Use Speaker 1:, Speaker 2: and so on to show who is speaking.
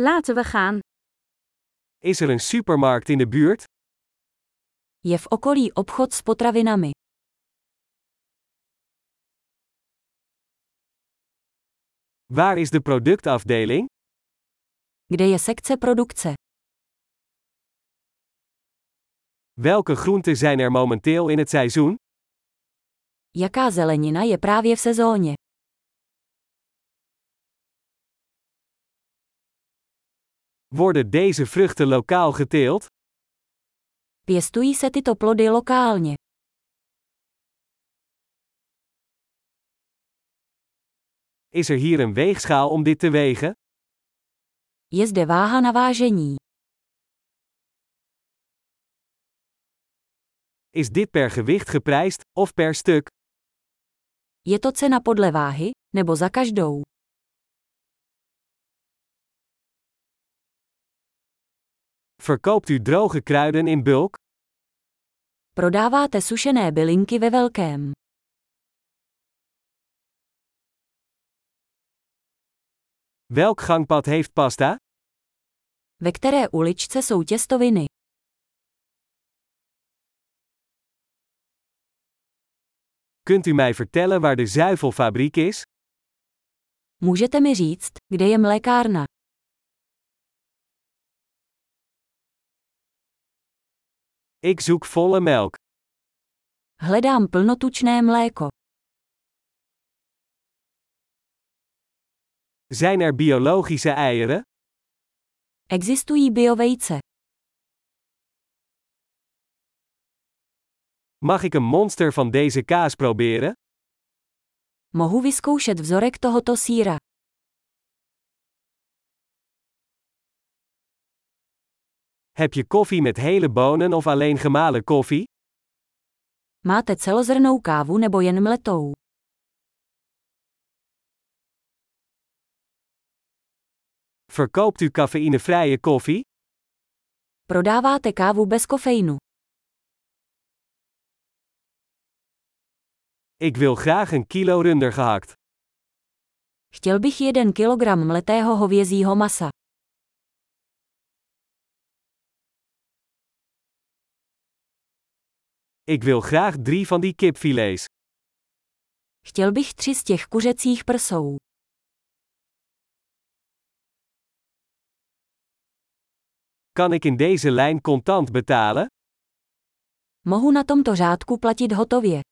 Speaker 1: Laten we gaan.
Speaker 2: Is er een supermarkt in de buurt?
Speaker 3: Je v okolí obchod s potravinami.
Speaker 2: Waar is de productafdeling?
Speaker 3: Kde je sekce produkce?
Speaker 2: Welke groenten zijn er momenteel in het seizoen?
Speaker 3: Jaká zelenina je právě v sezóně?
Speaker 2: Worden deze vruchten lokaal geteeld?
Speaker 3: Pěstují se tyto plody lokálně.
Speaker 2: Is er hier een weegschaal om dit te wegen?
Speaker 3: Je zde váha na vážení.
Speaker 2: Is dit per gewicht geprijsd of per stuk?
Speaker 3: Je to cena podle váhy, nebo za každou.
Speaker 2: Verkoopt u droge kruiden in bulk?
Speaker 3: Prodáváte sušené bylinky ve velkém.
Speaker 2: Welk gangpad heeft pasta?
Speaker 3: Ve které uličce jsou těstoviny?
Speaker 2: Kunt u mij vertellen waar de zuivelfabriek is?
Speaker 3: Můžete mi říct, kde je mlékárna?
Speaker 2: Ik zoek volle melk.
Speaker 3: Hledám plnotučné mléko.
Speaker 2: Zijn er biologische eieren?
Speaker 3: Existují biovejce.
Speaker 2: Mag ik een monster van deze kaas proberen?
Speaker 3: Mohu vyzkoušet vzorek tohoto síra.
Speaker 2: Heb je koffie met hele bonen of alleen gemalen koffie?
Speaker 3: Máte celozrnou kávu nebo jen mletou?
Speaker 2: Verkoopt u cafeïnevrije koffie?
Speaker 3: Prodáváte kávu bez kofeinu.
Speaker 2: Ik wil graag een kilo runder gehakt.
Speaker 3: Chtěl bych 1 kilogram mletého hovězího masa.
Speaker 2: Ik wil graag drie van die kipfilets.
Speaker 3: Chtěl bych tři z těch kuřecích prsou.
Speaker 2: Kan ik in deze lijn contant betalen?
Speaker 3: Mohu na tomto řádku platit hotově.